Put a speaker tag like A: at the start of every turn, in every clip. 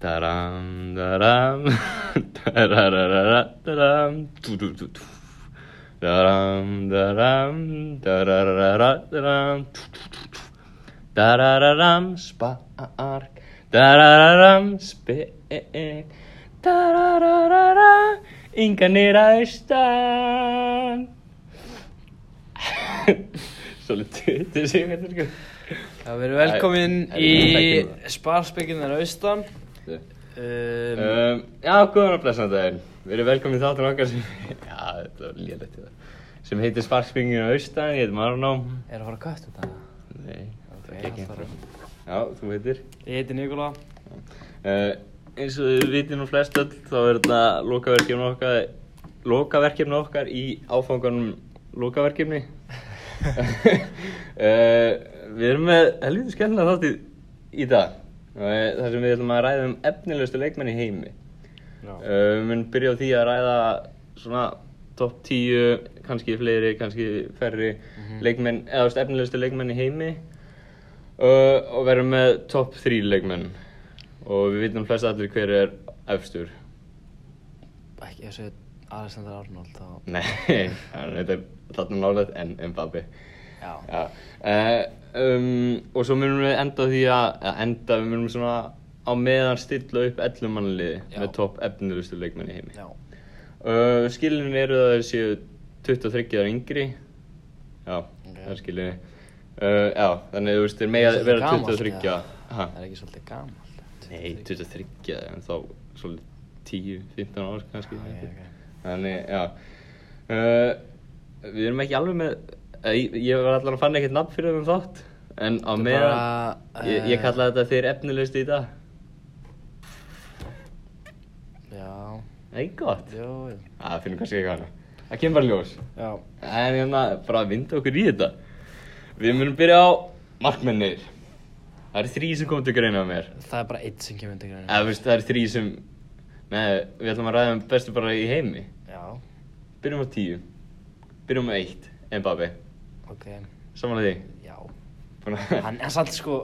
A: タランダ ランタララララタラントゥルルトゥダランダランダララララダラントゥトゥトゥトゥダララランスパークダララランスペークダララララインカネライスタ ン Svolítið, þetta séu hvað þetta
B: Það verður velkomin
A: Æ,
B: í
A: æ, æ,
B: Sparsbyggjum þar austan
A: er sko
B: um,
A: Um, já, góðan og blessan daginn. Við erum velkomin í þáttun okkar sem, já, þetta var lélegt í það, sem heitir Sparkspingin á austan, ég heit Marno.
B: Er að fara að kött þetta?
A: Nei, það
B: Ok,
A: er ekki
B: alltaf.
A: einhver. Já, þú heitir.
B: Ég heiti Nikola
A: Uh, eins og þið vitið nú flest öll, þá er þetta lokaverkefni okkar, lokaverkefni okkar í áfanganum lokaverkefni. uh, við erum með helvítið skemmtilega þátt í, í dag, uh, þar sem við ætlum að ræða um efnilegustu leikmenn í heimi.
B: no.
A: Uh, Við munum byrja á því að ræða svona topp 10, kannski fleiri, kannski færri leikmenn, eða þú veist, efnilegustu leikmenn í heimi uh, og verðum með topp 3 leikmenn og við vitum flest allir hver er efstur.
B: Ekki þessu Alexander Arnold þá
A: Nei, hann heitir þarna nálega en Mbappi.
B: Já,
A: Já, uh, um, og svo munum við enda á því að, eða enda, við munum svona á meðan stilla upp 11 mannliði
B: Já.
A: með topp efnilegustu leikmenn í heimi.
B: já,
A: Uh, skilin eru að þeir séu 23 ára yngri Já, það er skilin uh, Já, þannig þú veist, þeir mega
B: Það er
A: vera
B: gamalt,
A: 23
B: eða?
A: ha?
B: það er ekki svolítið gamalt
A: Nei, 23, en þá svolítið 10-15 ára kannski
B: Já, já,
A: Ah,
B: ok.
A: Þannig, já uh, Við erum ekki alveg með eh, Ég, ég var allan að fann ekkert nafn fyrir þeim þátt En á
B: Þetta er
A: meðan
B: bara,
A: ég,
B: eh,
A: ég kalla þetta þeir efnilegust í dag
B: Já,
A: Það er gott Ah,
B: jú, jú
A: Það finnum kannski eitthvað annað Það kemur bara í ljós
B: Já,
A: En hérna, bara að vinda okkur í þetta Við munum byrja á markmennir Það eru þrý sem kom til greina á mér
B: það er bara eitt sem kemur undir greinu
A: Eða þú veist, það eru þrý sem Nei, við ætlum að ræða um bestu bara í heimi
B: Já,
A: Byrjum á tíu Byrjum á eitt, Mbappi
B: ok,
A: Samanlega því
B: já
A: Búin að-
B: Hann er samt sko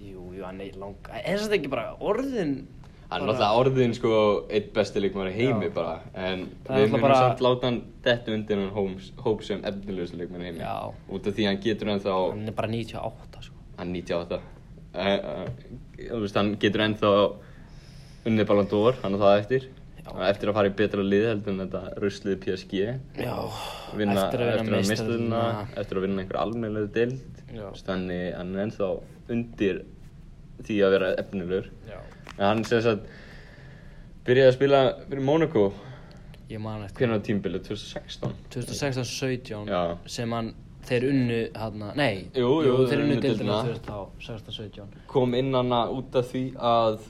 B: Jú, jú, hann er lang Er þetta ekki bara orðin
A: Hann er
B: bara-
A: náttúrulega orðin sko eitt besti leikmaður í heimi
B: Já.
A: bara En við
B: Það er náttúrulega
A: munum
B: bara-
A: samt láta hann dettu undir hann hóms- hóp sem efnilegustu leikmaður í heimi
B: Já.
A: Út af því hann getur ennþá
B: Hann er bara 98 sko
A: hann 98 Eh, eh, þú veist, hann getur ennþá unnið Ballon d'Or, hann á það eftir
B: Já.
A: eftir að fara í betra lið heldur en þetta ruslið PSG
B: Já,
A: vinna, eftir að vinna
B: meistarana.
A: misturna eftir að vinna einhver almennlega deild
B: Já.
A: Þú veist, þannig hann er ennþá undir því að vera efnilegur
B: Já,
A: en hann sem sagt byrjaði að spila fyrir Monaco
B: ég man eftir
A: hvernig á tímbilið 2016
B: 2016-17
A: Já.
B: sem hann, þeir unnu hérna, nei,
A: Jú, jú,
B: þeir unnu deildina
A: deildina.
B: 2016-17
A: kom inn hana út af því að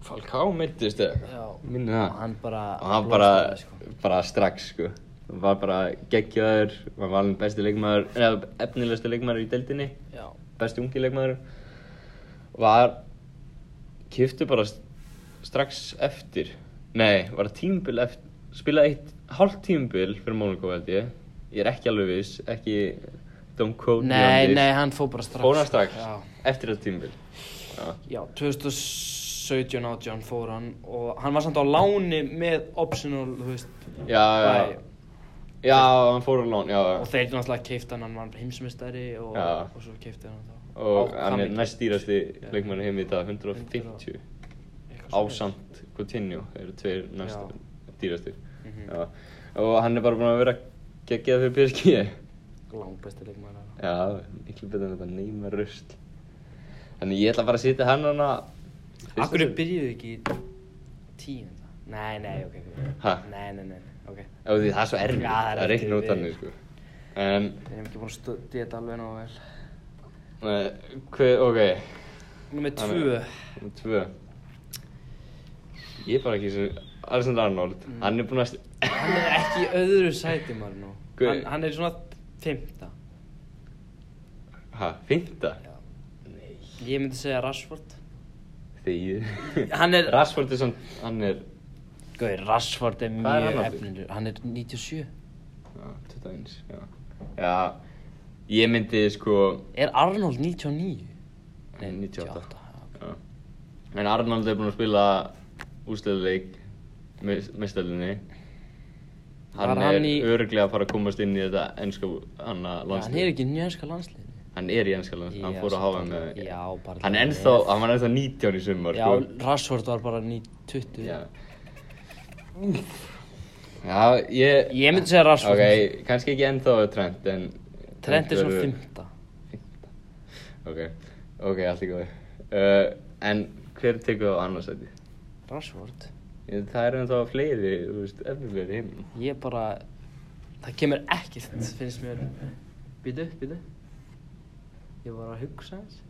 A: Falcao meittist eða
B: Já.
A: minni það
B: og hann bara
A: og hann
B: blómstraði,
A: bara,
B: sko.
A: bara strax sko hann var bara geggjaður hann var alveg besti leikmaður eða efnilegasti leikmaður í deildinni
B: Já,
A: besti ungi leikmaður var kiftu bara st- strax eftir nei, var tímbil eftir spilaði eitt hálft tímbil fyrir Monaco held ég ég er ekki alveg viss ekki don't quote me on
B: nei,
A: this.
B: nei, hann fór bara strax
A: fór hann strax
B: Já,
A: eftir þetta tímbil já,
B: já 2017-18 fór hann og hann var samt á láni með optional, þú veist
A: já, já,
B: bæ.
A: já hann fór á lán já, já
B: og þeir náttúrulega keifti hann, hann var heimsmystari og,
A: Já.
B: og svo keifti hann þá
A: og
B: Á-
A: hann er
B: mikið?
A: næst dýrasti leikmann heim í dag 150
B: Eitthvað svoleiðis.
A: ásamt Coutinho eru tveir næst
B: Já. Mhm.
A: dýrastir Já. og hann er bara búinn að vera geggjað fyrir PSG
B: langbæsti leikmaður hann
A: já, miklu betur en þetta neymar rusl þannig ég ætla bara að setja hann hana fyrsta
B: Akkur
A: sæti.
B: byrjuðu ekki í tíunda? Nei, nei, ok, ok.
A: Ha?
B: Nei, nei, nei, ok.
A: Já, því það er svo erfið,
B: Já, það er
A: það er ekki
B: erfitt
A: nót þannig sko en,
B: Við erum ekki búin að stuðja þetta alveg nógu vel.
A: uh, hver, ok
B: Númer
A: Hann
B: tvö.
A: er- númer tvö ég er bara ekki svo Alexander Arnold,
B: Mm.
A: hann er búinn að
B: Hann er ekki í öðru sæti maður nú.
A: Guð.
B: Hann, hann er svona fymta.
A: ha, fynda
B: Já. Ég myndi segja Rashford.
A: þegið
B: Hann er-
A: Rashford er svona, hann er
B: Gauði, Rashford er
A: Hvað er
B: mjög
A: hann aftur?
B: efnindur. Hann er 97.
A: Já, 21, já. Já, ég myndi sko...
B: Er Arnold 99? Nei,
A: 98.
B: 98.
A: Já. En Arnald er búinn að spila úsleðuleik mestalinni
B: Var
A: Hann
B: hann
A: er
B: í-
A: örglega að fara að komast inn í þetta ennska hana
B: Já, hann er
A: landslið
B: ekki í njöðska landsliðinu.
A: Hann er í ennska landslið, hann
B: Já,
A: fór að
B: samt
A: háa með
B: alveg. Já, bara
A: E. Hann er
B: alveg.
A: ennþá, hann var ennþá 19 í sumar
B: Já,
A: sko.
B: Rashford var bara ný 20.
A: Já Já, ég
B: Ég myndi segja Rashford.
A: Ok, kannski ekki ennþá Trent en
B: Trent er svona
A: verður-
B: 15.
A: Ok, ok, allt í góði uh, En hver tekur á annarsæti?
B: Rashford.
A: Ég- Það eru ennþá fleiri, þú veist, efnilegri heim.
B: Ég bara, það kemur ekkert, finnst mér. Býtu, býtu. Ég var að hugsa hans.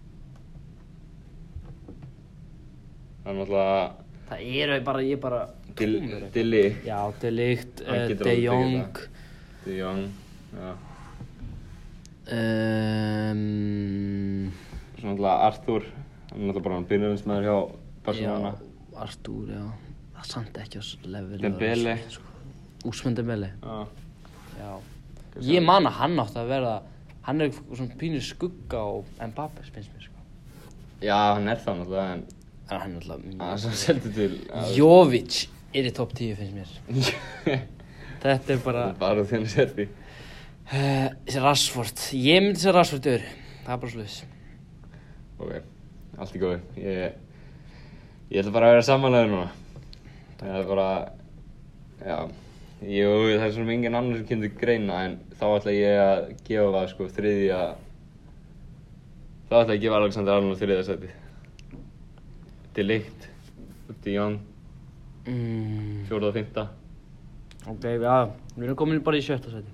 A: Það er náttúrulega
B: Það eru bara, ég bara, tómur.
A: Dill- Dilli,
B: Já, De Ligt,
A: Hann
B: uh,
A: getur alveg
B: De
A: tekið
B: Jong.
A: De Jong, já.
B: Um,
A: Svo náttúrulega Arthur, hann er náttúrulega bara hann byrjumsmaður hjá Barcelona.
B: Já, Artur, já. Það er samt ekki á svo level.
A: Dembele.
B: Úsmann Dembele.
A: Já.
B: Já. Ég man að hann átti að verða, hann er svona pínir skugga á Mbappé, finnst mér, sko.
A: Já, hann er það náttúrulega, en
B: En hann er alltaf
A: hann
B: mjög...
A: er svo seldu til. að-
B: Jovic er í topp 10, finnst mér. Þetta er bara...
A: Það er bara þenni seldi.
B: Uh, Rashford. Ég myndi segja Rashford öðru. Það er bara sluðis.
A: Ok, allt í góði. Ég, ég ætla bara að vera samanlega núna. Það er bara, já. Jú, það er svona engin annar sem kemur til greina, en þá ætla ég að gefa, sko, þriðja... Þá ætla ég að gefa Alexander Arnold þriðja sæti. Til líkt, til Jón,
B: Mm,
A: fjórða og fymta.
B: ok, já. Við erum komin bara í sjötta seti.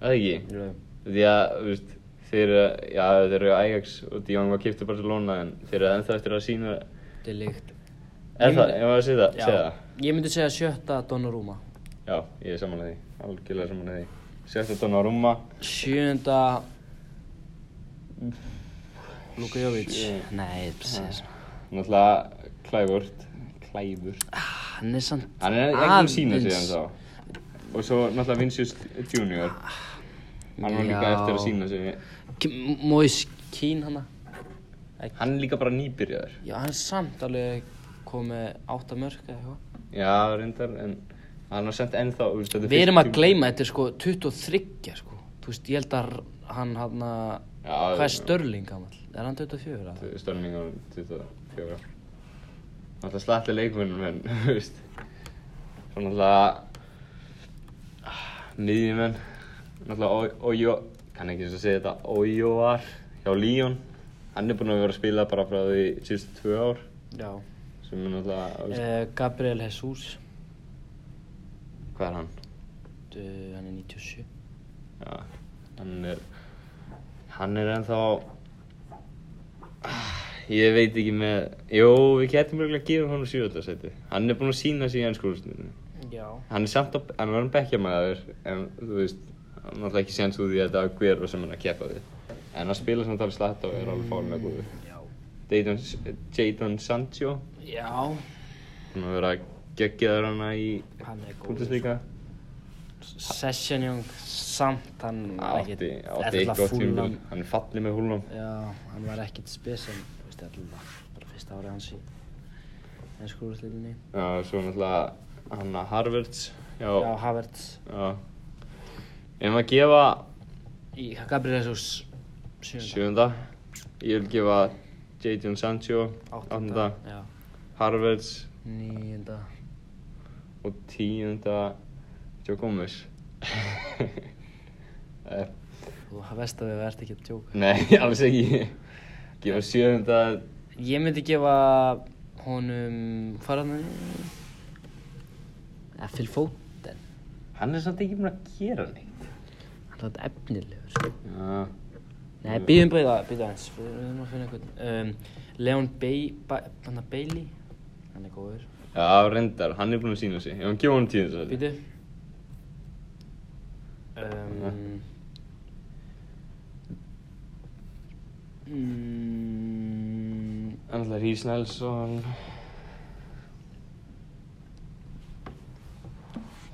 A: Það ekki? Því að, þú veist, þeir, já, þeir eru Ajax og Díong var kiptið Barcelona en þeir eru ennþá eftir að sína
B: Það er líkt.
A: Er það, ég var að segja það,
B: Já.
A: segja það
B: Ég myndi segja sjötta Donnarumma.
A: Já, ég er samanlega því, algjörlega samanlega því Sjötta Donnarumma
B: Sjöunda... Luka Jovic.
A: Sjö.
B: Nei, precis.
A: Náttúrulega Klæfurt Klæfurt
B: Hann er samt
A: Hann er ekki um
B: aðeins-
A: sína sig hann þá Og svo náttúrulega Vincius Junior Hann var líka
B: Já.
A: eftir að sína sig
B: K- Moise Keane hana.
A: Hann er líka bara nýbyrjaður
B: Já, hann er samt alveg komið átta mörk eða eitthvað.
A: Já, reyndar, en hann var sent ennþá þú veist, þetta er
B: Við
A: fyrsti
B: erum að
A: tímabil.
B: gleyma, þetta er sko 23, sko. Þú veist, ég held að hann hann að...
A: Já,
B: Hvað
A: já.
B: er Störling gammal? Er hann 24? eða?
A: Störning á 24 Náttúrulega slatti leikmennum en, þú veist Svo náttúrulega ah, Miðjumenn Náttúrulega Ó- Ójó Kann ekki eins og segja þetta Ójóar Hjá Líón Hann er búinn að vera að spila bara frá því síðustu tvö ár
B: Já.
A: Sem er náttúrulega þú veist,
B: Uh, Gabriel Jesus.
A: Hvað er hann?
B: Uh, hann er 97.
A: Já Hann er Hann er ennþá ah, Ég veit ekki með Jó, við getum mjög að gefa hann á sjöðarsæti Hann er búinn að sína sig í ennskólustundinu
B: Já.
A: hann er samt að, hann var hann bekkjamaður en þú veist, hann er náttúrulega ekki séns úr því að þetta er hverfa sem hann er að keppa við en að spila samt alveg slatt og er alveg fálega góður
B: Já.
A: Jadon, Jadon Sancho
B: Já.
A: hann var að vera geggjaður hana í
B: Hann er góður.
A: Bundesliga
B: Session Young, samt hann var
A: átti,
B: ekkit-
A: átti eitt
B: allavega
A: gott
B: Fulham-
A: tímabil hann er fallið með húlum
B: Já, hann var ekkit spes en, þú veist, allavega, bara fyrsta árið hans í ennskúrúsliðinni.
A: og svo náttúrulega hann að Harvards já,
B: Já, Havertz,
A: já. ef maður gefa
B: í Gabriel Jesus, sjönda,
A: sjönda ég vil gefa Jadon Sancho áttunda
B: áttunda, já,
A: Harvards
B: níunda.
A: og tíunda Joe Gomez Eh,
B: Þú veist að við verðum ekki að djóka.
A: Nei, alls ekki gefa sjöfunda
B: Ég myndi gefa honum, hvað er hann? Eða Phil Foden,
A: Hann er samt ekki búinn að gera neitt
B: hann er þetta efnilegur, sko.
A: Já,
B: Nei, býðum bara, býðum aðeins, við við erum að finna einhvern. Um, Leon Bay, ba, hann að Bailey, hann er góður.
A: Já, reyndar, hann er búinn að sína sig Ef hann gefa hann tíunda sæti
B: Býðu. Um, mm,
A: Annarlega Rís Nelson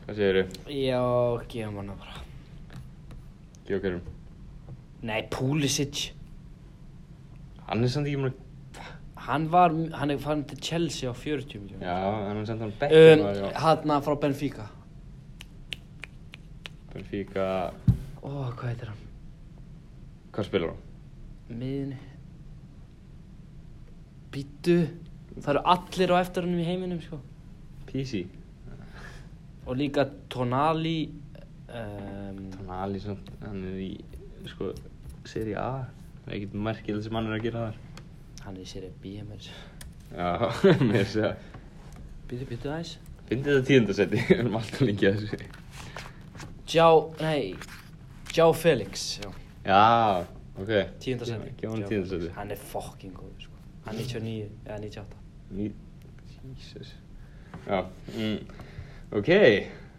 A: Hvað segirðu?
B: já, gefum hann bara.
A: Gefa hverjum
B: Nei, Pulisic,
A: Hann er samt ekki búinn að
B: Hann var, hann er farin til Chelsea á 40 miljónum
A: Já, en hann sendi hann
B: um,
A: bekkjum um,
B: Hanna frá Benfica
A: Benfica,
B: Ó, hvað heitir hann?
A: hvað spilar hann?
B: Miðinni Bítu Það eru allir á eftir hannum í heiminum sko
A: PC
B: Og líka Tonali um,
A: Þannig að Ali samt, hann er í, sko, seri A Það er ekkert merkilegt sem hann er að gera þar
B: Hann er í sér B mér
A: Já, mér sé að
B: Bítu, bítu aðeins
A: Fyndi þetta tíðendasetti, við erum alltaf lengi að þessu
B: Já, nei Já Felix Já
A: Já, ok
B: Tíundasendi
A: Gjá hann tíðendasetti
B: Hann er fucking góður sko Hann er 99 eða 98
A: Jesus Já, mm, ok,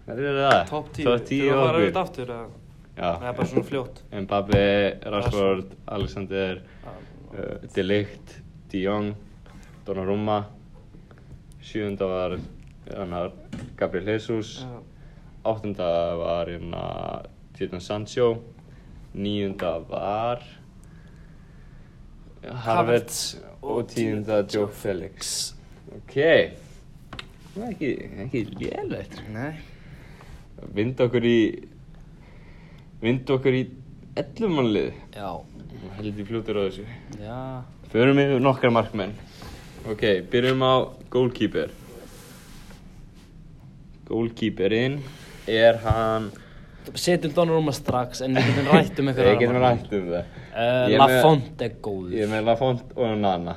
A: það er það
C: Top 10
A: Top 10
C: Þurfum að fara
A: okkur.
C: auðvitað aftur eða? Það er
A: Já,
C: bara svona fljótt
A: Mbappe, Rashford, Alexander, uh, De Ligt, De Jong, Donnarumma, sjöunda var annar Gabriel Jesus,
C: Já.
A: áttunda var hérna Jadon Sancho, níunda var Havertz og tíunda Joe Felix. Ok, það er ekki, ekki lélegt.
B: Nei
A: Vind okkur í, vind okkur í 11 mannlið.
B: Já
A: Heldi fljótur á þessu.
B: Já
A: Förum við nokkra markmenn Ok, byrjum á goalkeeper Goalkeeperinn Er hann
B: Setjum Donnarumma strax en við getum rætt um eitthvað
A: Ég getum rætt um það
B: uh,
A: Ég er með-
B: Lafont er góður
A: Ég er með Lafont og Nana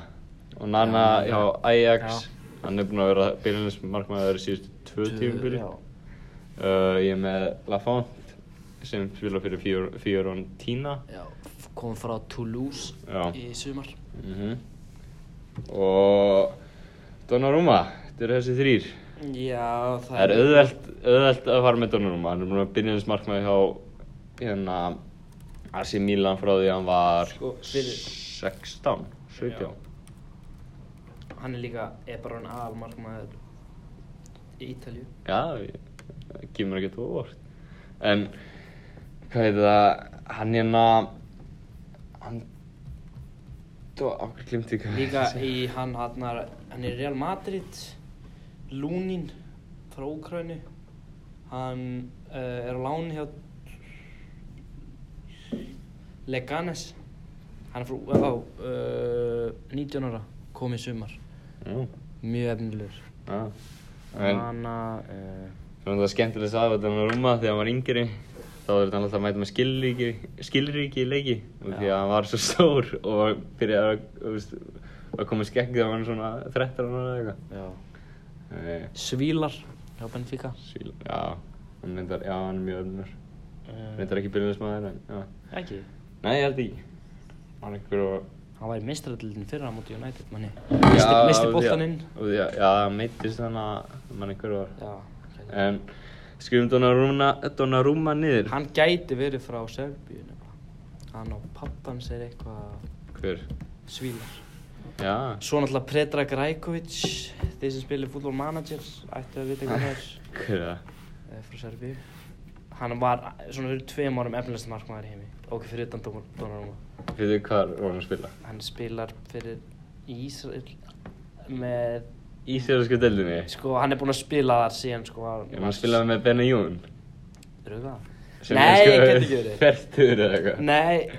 A: Og Nana hjá Ajax Hann er búinn að vera byrjunins markmaður síðustu tvö tímubili
B: Já.
A: uh, Ég er með Lafont sem spila fyrir Fior- Fiorentina
B: Já, f- kom frá Toulouse
A: Já.
B: í sumar
A: mm
B: Mhm.
A: Og Donnarumma, þetta eru þessi þrýr
B: Já,
A: Það er auðvelt, auðvelt að fara með Donnarumma, hann er búin að byrja hans markmaði hjá hérna AC Milan frá því að hann var
B: Sko, fyrir-
A: 16, 17
B: Hann er líka, er bara hann aðalmarkmaður í Ítalju
A: Já, ég- það gefur mér ekkert óvart En, hvað heitir það, hann hérna, hann, þú, okkur glimti hvað
B: Líka
A: ég segi.
B: í hann, hann er, hann er í Real Madrid Lúnin frá Úkrænu Hann uh, er á láni hjá Leganes Hann er frá UFA uh, 19 ára, kom í sumar
A: Jú,
B: Mjög efnilegur
A: já, en,
B: Hanna uh,
A: Svona það skemmtilegst að þetta hann rúma þegar hann var yngri þá þurfti hann alltaf að mæta með skilríki, skilríki í leiki og því að hann var svo stór og var- byrjaði að, þú veist, að koma í skegg þegar hann var svona 13 ára eða eitthvað
B: Já
A: Nei,
B: Svílar hjá Benfica
A: síl, já, hann reyndar, já, hann er mjög öfnur reyndar ekki byrjunismæður en, já
B: Eh, Ekki
A: Nei, ég held ekki Hann er einhver og
B: Hann var í mistratildin fyrra móti United manni
A: Já, og því
B: Misti
A: að-
B: boltan inn
A: og því að- Já, hann meittist hann að mann einhver var
B: Já
A: En skrifum Donnarumma, Donnarumma niður
B: Hann gæti verið frá Serbíu nefnilega Hann og pappan sér eitthvað
A: Hver?
B: svílar
A: Já
B: Svo náttúrulega Pretra Grajkovic Þeir sem spilir fútbol manager Ættu að vita hvað það er
A: Ah, Hver er það?
B: eh, Frá Serbíu Hann var eh, svona fyrir tveim árum efnilegst markmaður í heimi Ok, fyrir utan Donnarumma
A: Við þau hvar var hann að spila?
B: Hann spilar fyrir Ísrael með
A: Ísraelsku deldinni.
B: Sko, hann er búinn að spila þar síðan, sko
A: Ef hann spilaði með Benny Jón.
B: Ruga Nei, ég get ekki verið
A: Fertur eða eitthvað.
B: Nei,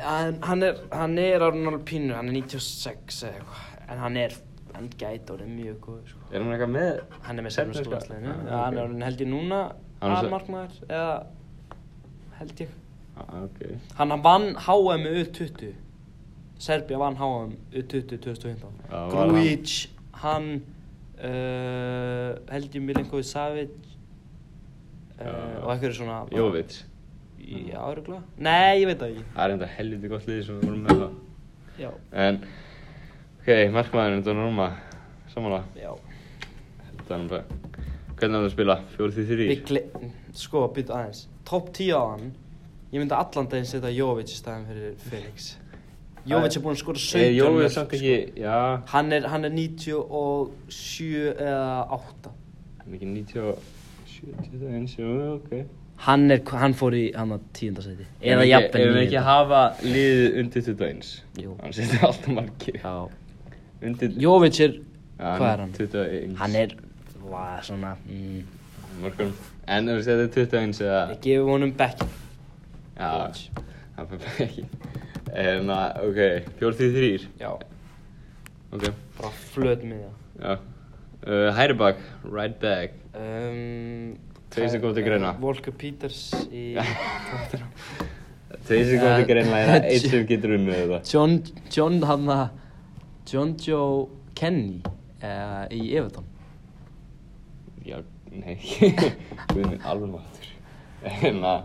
B: hann, hann er, hann er árun alveg pínu, hann er 96 eða eitthvað En hann er, hann gæti orðið mjög góð, sko
A: Er hann eitthvað með?
B: Hann er með
A: Serbneska?
B: sérnum skóðsleginu
A: Ah,
B: Já, hann er
A: ok.
B: orðin held ég núna
A: Hann er svo-
B: aðmarkmaður Eða, held ég
A: Ah, ok.
B: Hann vann HM U20 Serbia vann HM U20 2015
A: Já, var hann-
B: Grujic, hann uh, held ég Milenkovi Savic
A: Já.
B: uh, og eitthvað svona bara-
A: Jovic.
B: Já, öruglega Nei, ég veit það ekki
A: Það er enda helviti gott liði sem við vorum með það.
B: Já,
A: En, ok, markmaðurinn Donnarumma. Samanlega.
B: já
A: Þetta er hann bara. Hvernig á það að spila? 4-3-3?
B: Við gle- Sko, býtu aðeins Topp 10 á hann Ég myndi allan daginn setja Jovic í staðin fyrir Felix Jovic er búinn að skora 17
A: Er Jóvið
B: mörk,
A: samt
B: sko.
A: ekki, já,
B: Hann er, hann er 97 eða 8
A: hann er ekki 97, 71, jú, ok.
B: Hann, er, hann fór í hann að tíundasæti
A: Ef
B: Eða
A: ekki- Ef
B: jafnvel
A: við
B: níunda.
A: ekki hafa liðið undir 21.
B: Jú.
A: Hann setur alltaf markið.
B: Já
A: Undir
B: Jovic er,
A: Já,
B: hvað er hann?
A: 21
B: Hann er, hvað, svona, mm,
A: Mörgum En ef þú segir þetta er 21 eða
B: ég gefi honum bekkin. Jovic.
A: Já Það fyrir ekki En að, ok 43
B: Já,
A: Ok
B: bara flöt með það.
A: Já uh, Hæri bak Right back
B: Um,
A: Tveir sem kom til greina.
B: Volker Peters í tóttina.
A: Tveir sem kom til
B: Ja.
A: greinlega er eitt sem getur unnið þetta
B: John, John hann John Joe Kenny uh, í Everton.
A: Já, nei Guð minn alveg matur En að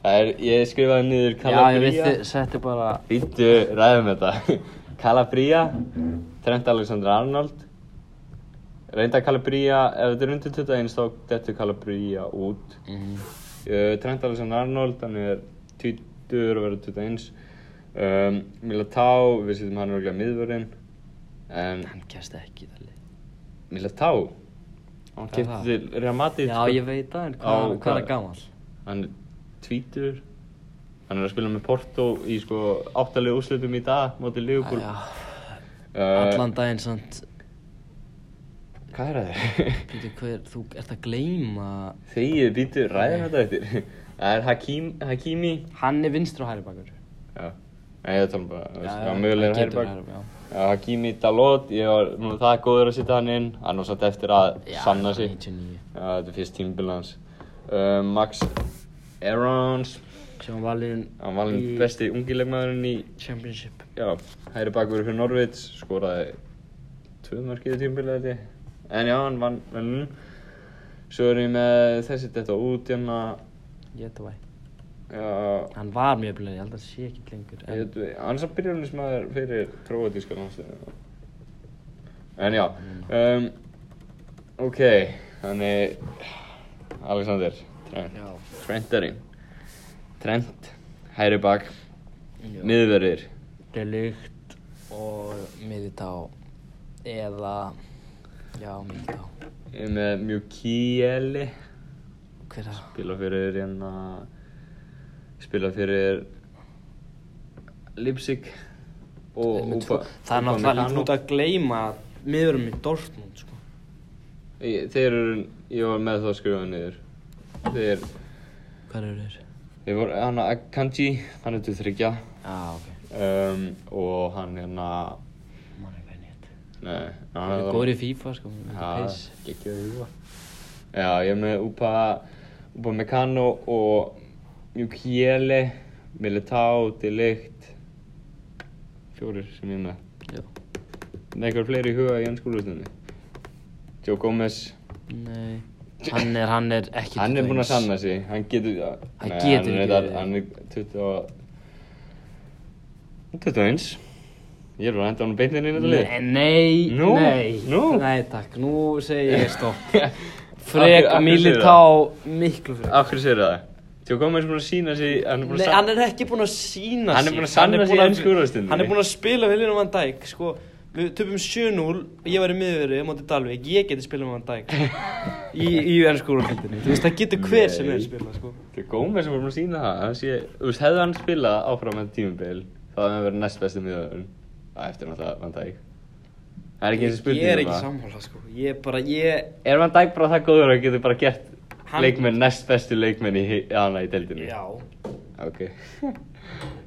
A: Það er, ég skrifaði niður
B: Já, ég
A: Calabria
B: veit þið, settu bara,
A: Býttu, ræðum þetta Calabria Trent Alexander-Arnold Reynda Calabria Ef þetta er undir 21 þá dettur Calabria út
B: mm,
A: uh, Trent Alexander-Arnold hann er 20 og verður 21 um, Militao við setjum hann örgulega miðvörðin en
B: hann kæst ekki í það lið.
A: Militao hann
B: Hvað er það?
A: kipti til Real Madrid
B: Já,
A: sko.
B: ég veit það, en
A: Á,
B: hvað, hvað
A: hvað-
B: er gammal?
A: hann er tvítur hann er að spila með Porto í sko áttalegu úrslutum í dag móti Liverpool
B: Já,
A: Uh,
B: Ah, allan daginn samt,
A: Hvað er það?
B: býtu hver, þú ert að gleyma,
A: Þegið býtu ræðum þetta eftir Það er Hakim, Hakimi
B: hann er vinstur á hægri bakur.
A: Já, Nei, ég tala um bara, þú veist,
B: Já,
A: það er
B: hann
A: mögulega
B: getur
A: hærbak
B: hægri bak, já.
A: Já, Hakimi Dalot, ég var nú það góður að setja hann inn Hann var satt eftir að
B: Já,
A: sanna sig
B: 99.
A: Já, þetta er fyrst tímbil hans uh, Max Aarons
B: Sem hann valinn
A: Hann var hann
B: Í-
A: besti ungilegmaðurinn í
B: Championship.
A: Já, hæri bakverður fyrir Norvits, skoraði tvö mörk í tímbilið þetta. ég. En já, hann vann velun. Svo er ég með þessi þetta út hérna,
B: Ég þetta væ.
A: já,
B: Hann var mjög blöð, ég held að hann sé ekki lengur.
A: ég veit, hann er samt byrjunismæður fyrir króatíska landsliðinu. En já,
B: Mm.
A: um, ok, þannig, Alexander, Trent,
B: Já.
A: Trentarinn, Trent, hæri bak,
B: Já.
A: miðverðir,
B: Delikt og Miditá eða, já, Miditá.
A: ég er með Mjukieli,
B: Hver er það?
A: spila fyrir hérna spila fyrir Leipzig og
B: Með tvo-
A: Upa-
B: það er náttúrulega
A: Upamecano.
B: út að gleyma að miðurum í Dortmund, sko.
A: Ég- þeir eru, ég var með það skrifað niður þeir,
B: Hver eru þeir?
A: þeir voru, hann Akanji hann er til þryggja
B: Já, ok.
A: um, og hann hérna
B: Man er hvernig þetta.
A: nei, hann
B: Það
A: er hérna-
B: er góður í FIFA, sko. Það er peis.
A: ekki að huga já, ég er með Upa Upa Mekano og Mjukiele Militao, Delikt fjórir sem ég er með
B: Já.
A: Nei, eitthvað fleiri í huga í ennskúlutinni Joe Gomez
B: Nei. Hann er, hann er ekki
A: Hann er búinn að
B: 21.
A: sanna sig Hann getur
B: Hann
A: Nei, hann
B: getur ekki
A: er reyndar-
B: verið.
A: Hann er 20 og- 21 Ég er bara að henda hann beintin inn í þetta lið
B: Nei, nei,
A: Nú,
B: nei,
A: nú.
B: nei takk, nú segi ég stopp
A: Af hverju-
B: Frek
A: af hverju
B: Militá, miklu frek
A: Af hverju segir það? Joe Gomez er búinn að sína sig Hann er búinn
B: Nei,
A: að
B: hann
A: sanna
B: er ekki búinn að
A: Hann
B: sína
A: er
B: sig.
A: búinn að sanna
B: Hann er
A: sig í
B: búinn að-
A: ensku úrvalsdeildinni.
B: Hann er búinn að spila við Lina Van Dijk, sko Við töpum 7-0, ég var í miðurri, móti Dalvik, ég geti spilað með Van Dijk Í, í ennsku úrvalsdeildinni, þú veist, það getur hver sem er
A: Nei.
B: spilað, sko
A: Joe Gomez er búinn að sína það Hann sé Þú veist, hefði hann spilað áfram með tímubil þá hefði hann verið næst besti miðaður Það eftir náttúrulega Van Dijk um Það er ekki eins og spurning
B: Ég er ekki sammála, sko, ég er bara, ég,
A: Er Van Dijk bara það góður að getur bara gert
B: Hann-
A: leikmenn, næst bestu leikmenn í hi- hana í deildinni?
B: já
A: Ok.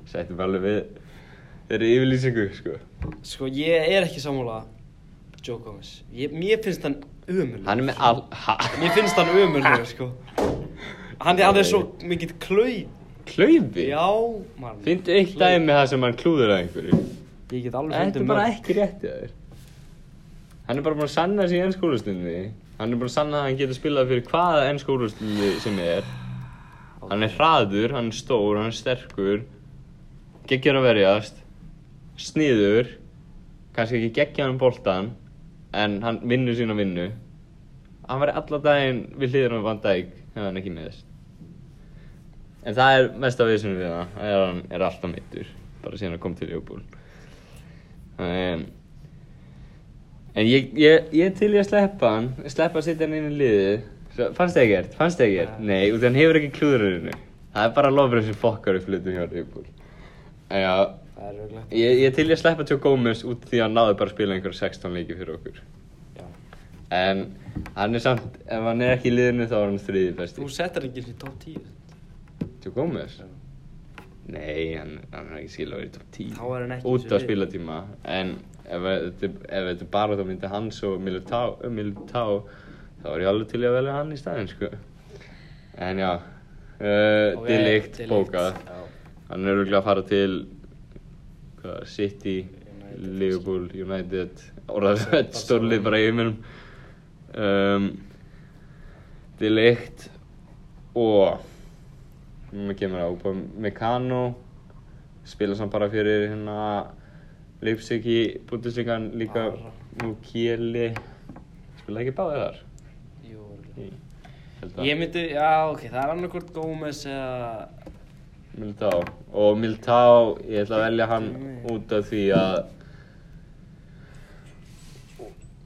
A: Sættum bara alveg við þeirri yfirlýsingu, sko.
B: Sko, ég er ekki sammála Joe Gomez, ég, mér finnst hann umurlega
A: Hann er með all... Ha?
B: Mér finnst hann ömurlegur sko Hann er, hann er svo mikill klauð
A: Klauði?
B: Já, mann
A: Fyndu eitt dæmi það sem hann klúður að einhverju.
B: Ég get alveg
A: Þetta
B: fundið
A: er bara ekki réttið þér. Hann er bara búinn að sanna sig í ennskólustunni. Hann er búinn að sanna að hann getur spilað fyrir hvaða ennskólustunni sem er. Hann er hraður, hann er stór, hann er sterkur. Geggjur að verjast. Sniður. Kannski ekki geggjaðan boltan. En hann vinnur sína vinnu. Hann væri alla daginn við hliður á Van Dijk ef hann ekki meðist. En það er mest af viðsynum við það. Það er að hann er alltaf meittur. Bara síðan að kom til Ljóbúl. En, en ég, ég, ég er til ég að sleppa hann, sleppa að setja hann inn í liðið. Svo, fannst það ekkert, fannst það ekkert.
B: Nei.
A: Nei, út af hann hefur ekki klúðurinu. Það er bara lofrið sem fokkar upp hlutum hjá Liverpool. En já,
B: Það er röglega
A: Ég, ég til ég sleppa Joe Gomez út því að hann náði bara að spila einhver 16 leiki fyrir okkur.
B: Já.
A: En hann er samt, ef hann er ekki í liðinu þá er hann þriði besti.
B: Þú setjar ekki í top 10
A: Joe Gomez? Nei, hann, hann er ekki skil að vera í top 10.
B: Þá er hann ekki í
A: Út
B: þessu
A: af
B: liði.
A: spilatíma. En ef þetta ef þetta er bara þá myndi hans og Militao, uh, Militao, þá er ég alveg til í að velja hann í staðinn, sko. En já, uh,
B: Ok,
A: okay, dilikt
B: Delict.
A: bókað.
B: Já.
A: Hann er örgulega að fara til hvað, City,
B: United.
A: Liverpool, United orðað stórlið bara í heiminum um, Delikt og mér kemur á Mekano spila samt bara fyrir hérna Leipzig í Bundesliga en líka
B: Bara.
A: nú Kjeli spila ekki báðið þar
B: Jú, örugglega.
A: Ég held að-
B: Ég myndi, já ok, það er annarkvort Gómez eða
A: Militao og Militao, ég ætla að velja hann
B: Nei.
A: út af því að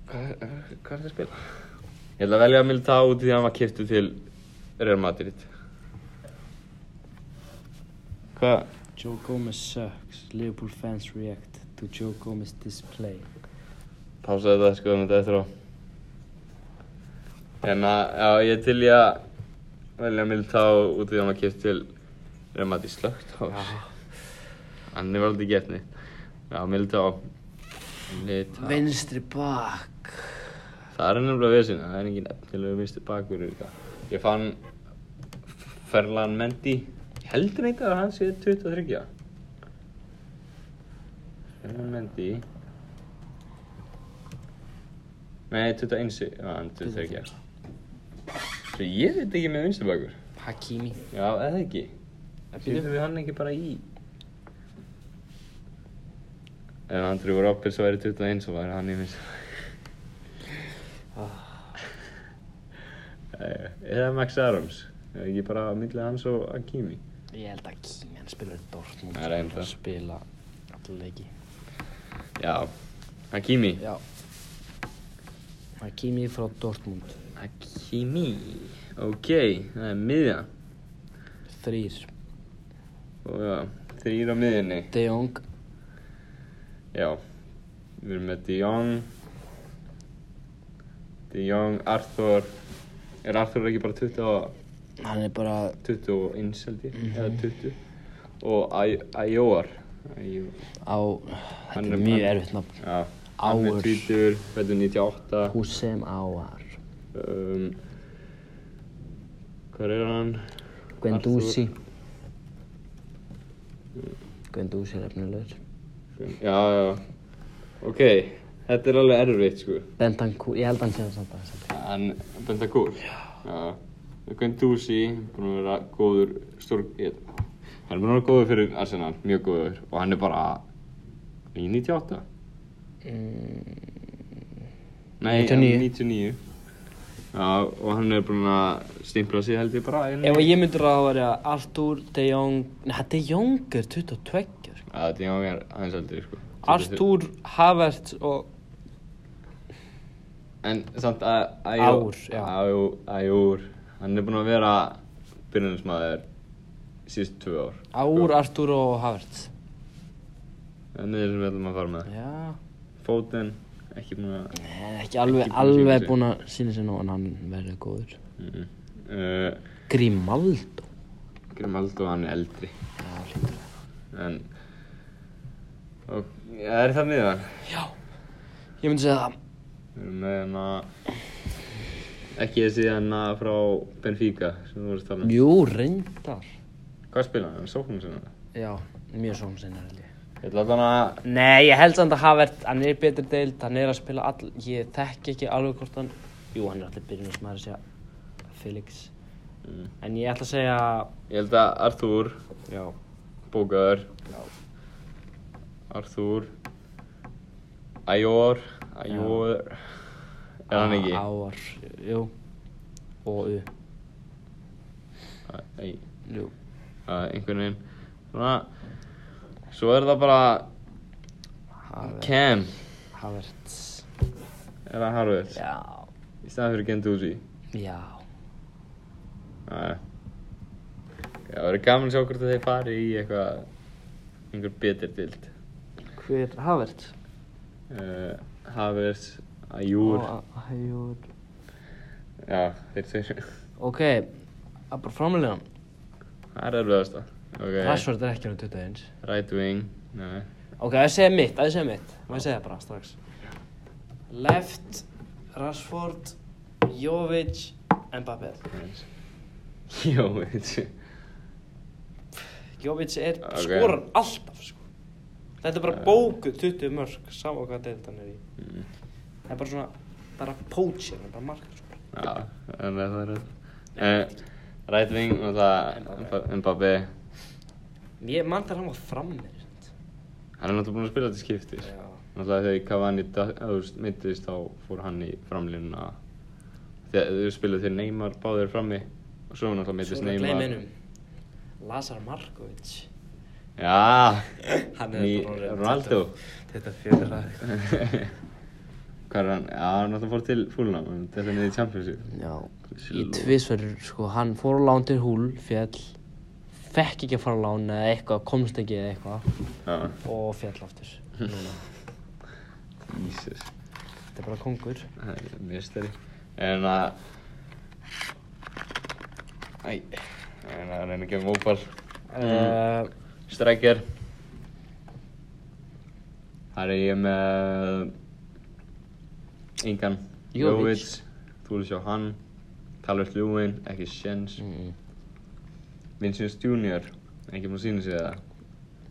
A: hvað er hvað er það að spila? Ég ætla að velja Militao út af því að hann var kiptu til Real Madrid Hvað?
C: Joe Gomez sucks. Liverpool fans react to Joe Gomez display.
A: Pásaði þetta sko þetta eftir á En að, já, ég er til ég að velja Militao út af því að hann var kiptu til Real Madrid slögt á þessu Hann er verið í getni. Já, Militao. Militao.
C: Vinstri bak.
A: Það er nefnilega vesina, það er engin efnilegu misti bakverður í það. Ég fann Ferlan Mendy, ég heldur neitt að hann sé 23. Ferlan Mendy. Nei, 21, já, hann er 23. Svo ég veit ekki með vinstu bakur.
C: Hakimi.
A: Já, eða ekki. Sýttum við hann ekki bara í? Ef Andrew Roberts væri 21 svo væri hann í minn Eh, Eða Max Adams Eða ekki bara á milli hans og Akimi
C: Ég held að Kimi hann spilar í Dortmund.
A: Það er reyndar.
C: Hann Spila alla leiki.
A: Já Akimi
C: Já. Hakimi frá Dortmund.
A: Akimi Ok, það er miðja
C: Þrýr.
A: Og já, þrýr á miðjunni
C: De Jong.
A: Já Við erum með De Jong De Jong, Arthur Er Arthur ekki bara 20 og
C: Hann er bara
A: 20 og eins held ég, eða 20 og Æjóar
C: á...
A: Hann
C: Þetta
A: er-
C: er mjög
A: hann-
C: erfitt nafn.
A: já, hann er
C: Áar.
A: 20, fættur 98
C: Hussein Áar.
A: um, hvað er hann?
C: Guendouzi. Guendouzi er efnilegur.
A: Arthur. já, já, ok þetta er alveg erfitt sko
C: Bentancur. Ég held hann sé það samt að það.
A: hann, Bentancur já Guendouzi, búin að vera góður stór, ég, hann er búin að vera góður fyrir Arsenal, mjög góður og hann er bara í 98 Nei,
C: 99.
A: 99 Já, og hann er búinn að stimpla sig held ég bara inn
B: Ef að ég myndi ráða að vera Arthur, De Jong Nei, De Jong er 22 sko.
A: Já, þetta er ég er aðeins aldrei sko
B: Arthur, Havertz og
A: En samt að
B: Ár, já.
A: Áur Hann er búinn að vera byrjunismæður síðust tvö ár
B: Ár, Arthur og Havertz
A: Það er niður sem við ætlum að fara með
B: Já
A: Fótinn, ekki búinn að
C: Nei, ekki alveg,
A: Ekki búinn að sýna
C: alveg
A: sig.
C: búin að sína sér nú en hann verður góður
A: mm -mm. uh,
C: Grimaldo
A: Grimaldo, hann er eldri
C: Já, hlýtur það.
A: En og, Er það miðan?
B: Ég myndi segja það
A: Við erum með hérna ekki þessi hérna frá Benfica sem þú voru að tala um.
C: Jú, reyndar
A: Hvað spila hann? Sóknum sinna?
C: Já, mjög svona sinna held ég
A: Ég ætla allan að
B: Nei, ég held samt að Havert, hann er í betri deild, hann er að spila all, ég þekk ekki alveg hvort hann, jú, hann er allir byrjun sem að segja Felix,
A: Mm.
B: en ég ætla að segja,
A: Ég held að Arthur
B: já,
A: Bókaður Arthur Æjór Æjór Er hann ekki?
C: Áar, jú Og U,
A: Æ,
C: jú
A: Það er einhvern veginn Svona Svo er það bara
C: Havert,
A: Cam
C: Havert
A: Er það Harvard?
C: Já,
A: Í staðan fyrir Genduzi
C: já
A: Já, það verður gaman að sjá hvort að þeir fari í eitthvað einhver betur dild
B: Hver Havert?
A: uh, Havers, Ajúr
B: Júr
A: Já, þeir þeir
B: Ok, að bara framlega hann
A: Það er erfiðast það
B: Rashford er ekki hann 21
A: Right wing Nei
B: Ok, að ég segja mitt, að ég segja mitt Má ég segja bara strax Left, Rashford, Jovic, Mbappé
A: Nice. Jó, veit
B: Jovic er
A: Ok.
B: skorar alltaf sko. Þetta er bara bókuð 20 mörg Sama hvað deild hann er í
A: Mm.
B: Það er bara svona, bara poacher, það er bara mark sko.
A: Já, en það er rétt uh, Right wing og það Mbappé
B: Ég mann þar hann var frammeir
A: Hann er náttúrulega búinn að spila þetta skiptis Náttúrulega þegar Cavani da- þú veist, meiddist þá fór hann í framlínuna Þegar þau spilaði þeir Neymar báðir frammi og svo náttúrulega meiddist Neymar
B: Lazar Markovic
A: Já
B: Hann
A: Ný-
B: bara orðinn
A: Ronaldo.
B: 24 eða eitthvað.
A: Hvað er hann? Já, hann náttúrulega fór til fúlunum en þetta er niður í Champions League
B: Já,
A: Þessi
B: í
A: ló-
B: tvisverður, sko, hann fór á lán til húl, fjall, fekk ekki að fara á lán eða eitthvað, komst ekki eða eitthvað
A: Já,
B: og fjall aftur,
A: Hm.
B: núna.
A: Jesus
B: Þetta er bara kongur.
A: Það er mistari En að Æ En að reyna að gefa mópar Hm.
B: Mm.
A: Strækjar Það er ég með Ingan
B: Jovic.
A: Þú vil sjá hann Talvert Ljúin, ekki Sjens
B: Mm.
A: Vincent Junior, ekki maður sína sig það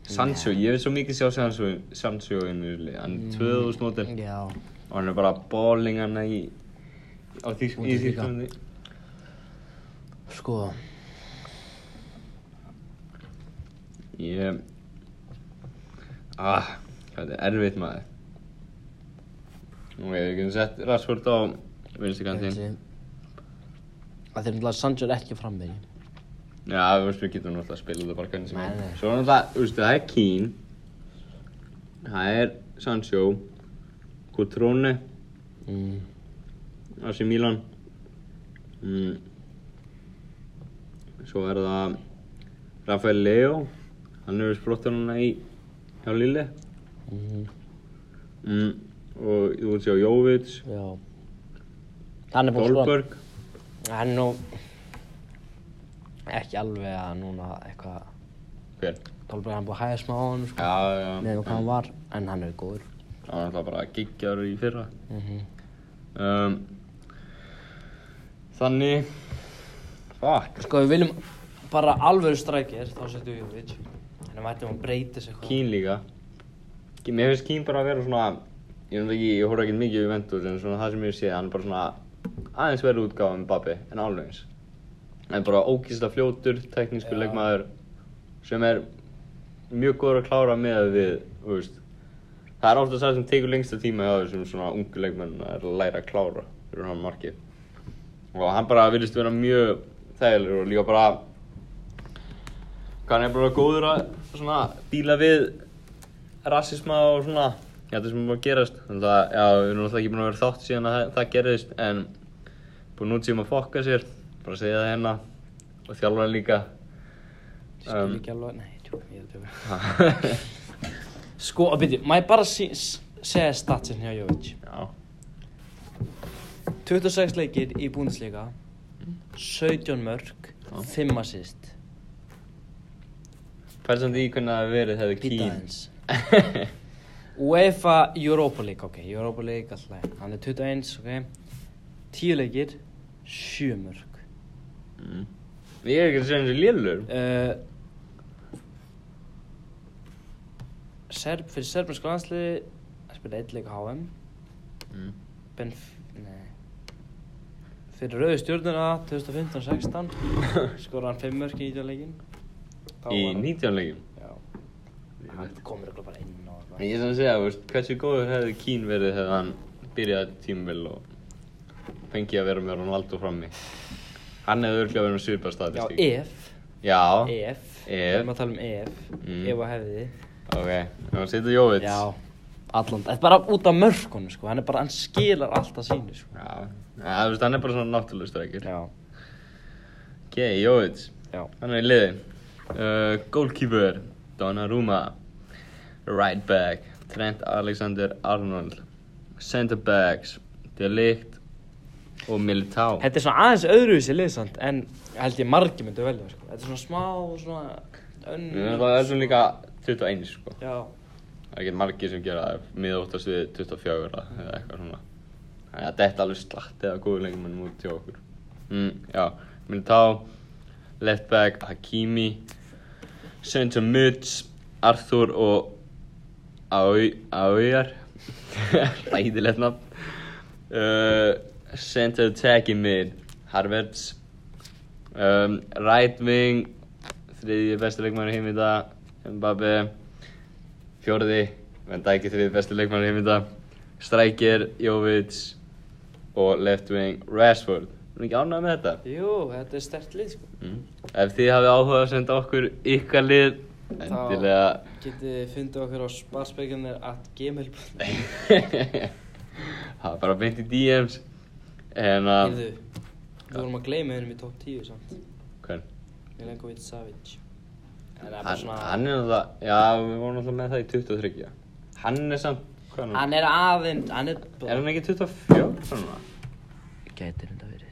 A: Sancho, ég vil svo mikið sjá Sancho, Sancho einu lið, hann er 2000 mótil
B: Já,
A: og hann er bara bowling hann í á þýsk, í
B: Bundesliga.
A: Þýsklandi
B: sko,
A: ég ah, hvað þetta er erfitt maður ok, við getum sett Rashford á vinstikantinn
B: þessi, að þeir náttúrulega Sancho er ekki frammeir.
A: já, við, veist, við getum náttúrulega að spila þetta bara hvernig sem
B: Nei,
A: er
B: nei.
A: svo er náttúrulega, þú veistu, það er Keane það er Sancho Cutrone Hm.
B: Mm.
A: AC Milan mm. svo er það Rafael Leo hann hefur sprottan hana í hjá Lille
B: Mm.
A: mm. og þú veist sjá Jovic
B: Já. Hann er búinn að skora.
A: Dolberg
B: Hann er nú ekki alveg að núna eitthvað,
A: hver?
B: Dolberg hann er búinn að hæða smá á hann, sko.
A: já, já,
B: Nei, hvað hann var, en hann er góður.
A: það var náttúrulega bara giggjar í fyrra
B: Mm
A: um, þannig fuck
B: Sko, við viljum bara alvöru strækir, þá setjum við Jovic. En það mættum að breyta sig eitthvað.
A: Kín líka Ki- Mér finnst Kín bara að vera svona Ég, veit ekki, ég horf ekki mikið við Ventus En svona það sem ég sé, hann er bara svona Aðeins verið útgáfa með Babbi, en alveg eins Hann er bara ókýrslega fljótur Teknískur leikmaður Sem er mjög góður að klára með við Þú veist Það er oftast það sem tekur lengsta tíma hjá þessum svona ungu leikmenn að læra að klára fyrir hann markið. Og hann bara virðist vera mjög þægilegur og líka bara hvað hann er bara góður að svona díla við rasisma og svona þetta sem er búin að gerast þannig að já, við erum náttúrulega ekki búin að vera þátt síðan að það, það gerðist en búin út síðan að fokka sér bara segja það hérna og þjálfa hann líka
B: Ég skil ekki alveg, nei, tjók, ég er tjók. Sko, að byrju, má ég bara sí, s- segja statsin hjá Jovic.
A: já
B: 26 leikir í Bundesliga, 17 mörg, 5 assist.
A: persónd í hvernig það hefði verið hefði
B: Býta
A: kín
B: aðeins. UEFA Europa League, ok, Europa League alltaf, lagi. hann er 21, ok, 10 leikir, 7 mörg.
A: Mm. ég er ekki að segja eins og lélur
B: uh, Serb, fyrir serbensku landsliði að spila eitt leik á HM
A: mm.
B: Benf, nei fyrir rauðu stjórnuna 2015-16 skora hann 5 mörk í 19 leikin Þá
A: í
B: var hann-
A: 19 leikum
B: já, hann komur eitthvað bara inn og eitthvað.
A: ég er svona að segja þú veist, hversu góður hefði kín verið hefði hann byrjað tímvel og fengið að vera með Ronaldo frammi hann hefði örglega verið með svipað
B: já, e.
A: statistík
B: ef
A: Já,
B: ef, við
A: Ef.
B: erum að tala um ef
A: Mm.
B: ef að hefði
A: ok, við varum að setja Jóvits
B: já, allan, þetta er bara út af mörkunum sko, hann er bara, hann skilar alltaf sínu sko
A: Já, ja, þú veist, hann er bara svona náttúrulega strækir
B: já,
A: Ok, Jóvits,
B: já
A: hann er í liði uh, Goalkeeper, Donnarumma Right back, Trent Alexander-Arnold Center backs, De Ligt og Militao
B: Þetta er svona aðeins öðruvísi liðsand en held ég margir myndu velja sko. Þetta er svona smá svona
A: Við erum það er svona líka 21 sko
B: Já,
A: Það er ekki margir sem gera það, miðóttast við 24 eða eitthvað svona Þannig að þetta er alveg slatti eða góður lengur mannum út til okkur mm, Já, Militao, left back, Hakimi, Sancho Muts, Arthur og Aujar Ræðilegt nafn uh, Center attacking mid, Harvards um, Right wing, þriðji besti leikmæri heim í dag, Mbappe Fjórði, Van Dijk er þriðji besti leikmæri heim í dag Stryker, Jovic og left wing Rashford Erum við ekki ánægð með þetta?
B: jú, þetta er stert lið sko.
A: Mm. Ef þið hafið áhuga að senda okkur ykkar lið endilega
B: Getið þið fundið okkur á sparspekjarnir at gmail
A: Það er bara beint í DMs En uh, að
B: Heyrðu, Við vorum að gleyma hennum í top 10 samt
A: Hvern?
B: Milenkovic Savic En það er bara
A: Hann,
B: svona
A: hann er náttúrulega Já, við vorum náttúrulega með það í 23 já. Hann er samt Hvað er hann?
B: Hann er aðeins, hann er
A: Er hann ekki 24 svona?
C: Gætir þetta verið.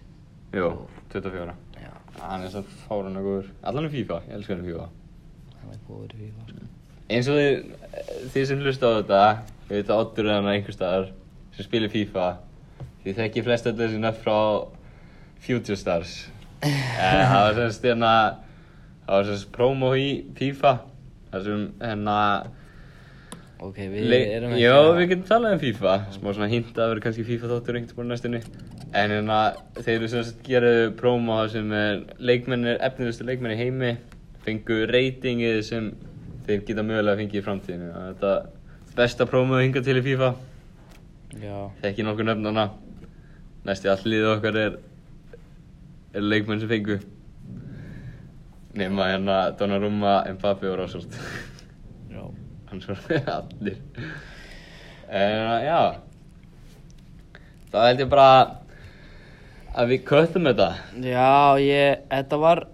A: Jú, 24
C: Já,
A: Hann er samt fárun og góður Allan er FIFA, ég elskar hann í FIFA
C: hann er góður í FIFA, sko.
A: eins og þið, þið sem hlusta á þetta við veit að oddur er hann einhver staðar sem spilir FIFA þið þekki flest öllu sinna frá Future Stars Eh, það var semst hérna það var semst promo í FIFA þar sem hérna
C: Ok, við erum
A: le-
C: ekki
A: já
C: að-
A: við getum talað um FIFA smá svona hint að vera kannski FIFA þáttur einhvern tímann á næstunni en hérna þeir eru semst geraðu promo þar sem er leikmennir, efnilegustu leikmennir í heimi fengu reytingið sem þeir geta mögulega að fengi í framtíðinu Þannig að þetta er besta promoðu hinga til í FIFA
C: Já,
A: þekki nokkuð nöfnana næstu allt liðið okkar er er leikmenn sem fengu nema hérna Donnarumma, Mbappe og Rássolt
C: já.
A: hann svaraði allir en uh, já þá held ég bara að við köttum þetta
B: Já, ég, þetta var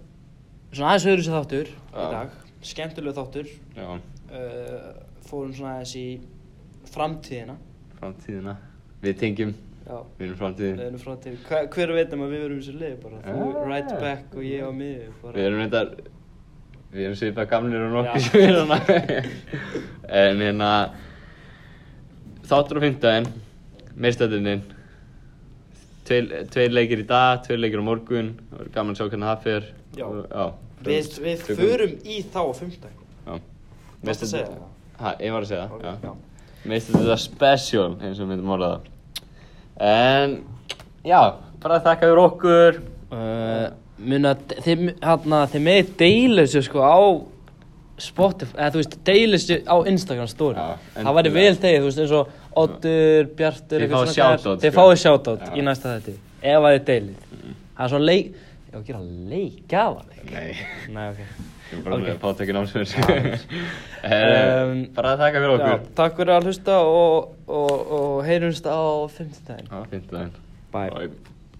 B: svona aðeins öðru sér þáttur í
A: Já.
B: dag Skemmtilegu þáttur
A: já,
B: uh, Fórum svona aðeins í framtíðina
A: framtíðina við tengjum,
B: Já,
A: við erum
B: við
A: framtíðin
B: erum frá til hver, hver veit um að við verum í þessu liði bara Þú
A: Já.
B: right back og ég á miður bara
A: við erum reyndar við erum svipað gamlir og nokkuð
B: Já.
A: sem er hana en hérna þáttur á fimmtudaginn meirstættininn tveir, tveir leikir í dag, tveir leikir á morgun það verður gaman að sjá hvernig það fer
B: Já.
A: já
B: Við, við
A: tökum-
B: förum í þá á fimmtag
A: Já.
B: Varstu að segja það?
A: Ha, ég var að segja
B: Ok,
A: það, já. Mér finnst þetta special, eins og við myndum orða það. En, já, bara þakka fyrir okkur.
C: Uh, muna, þið, hana, þið með deilu þessu sko á Spotify, eða þú veist, deilu þessu á Instagram story.
A: Já,
C: það væri
A: endilega.
C: vel þegið, þú veist, eins og Oddur, Bjartur,
A: Þið
C: eitthvað
A: fáið
C: svona
A: shoutout,
C: Þið
A: sko.
C: fáið shoutout
A: Já. Mm.
C: í næsta þetta, ef að þið deilið. Það er svona leik, ég var að gera leik, gafa leik.
A: Nei,
C: Nei, ok.
A: ég er bara
C: Ok.
A: okay. með pátökin ámsverðis. um,
B: Um,
A: bara þakka fyrir
B: Já,
A: okkur.
B: Takk fyrir að hlusta og, og, og heyrumst á fimmtudaginn
A: Já, finnst það einn.
C: Bye.
A: Bye.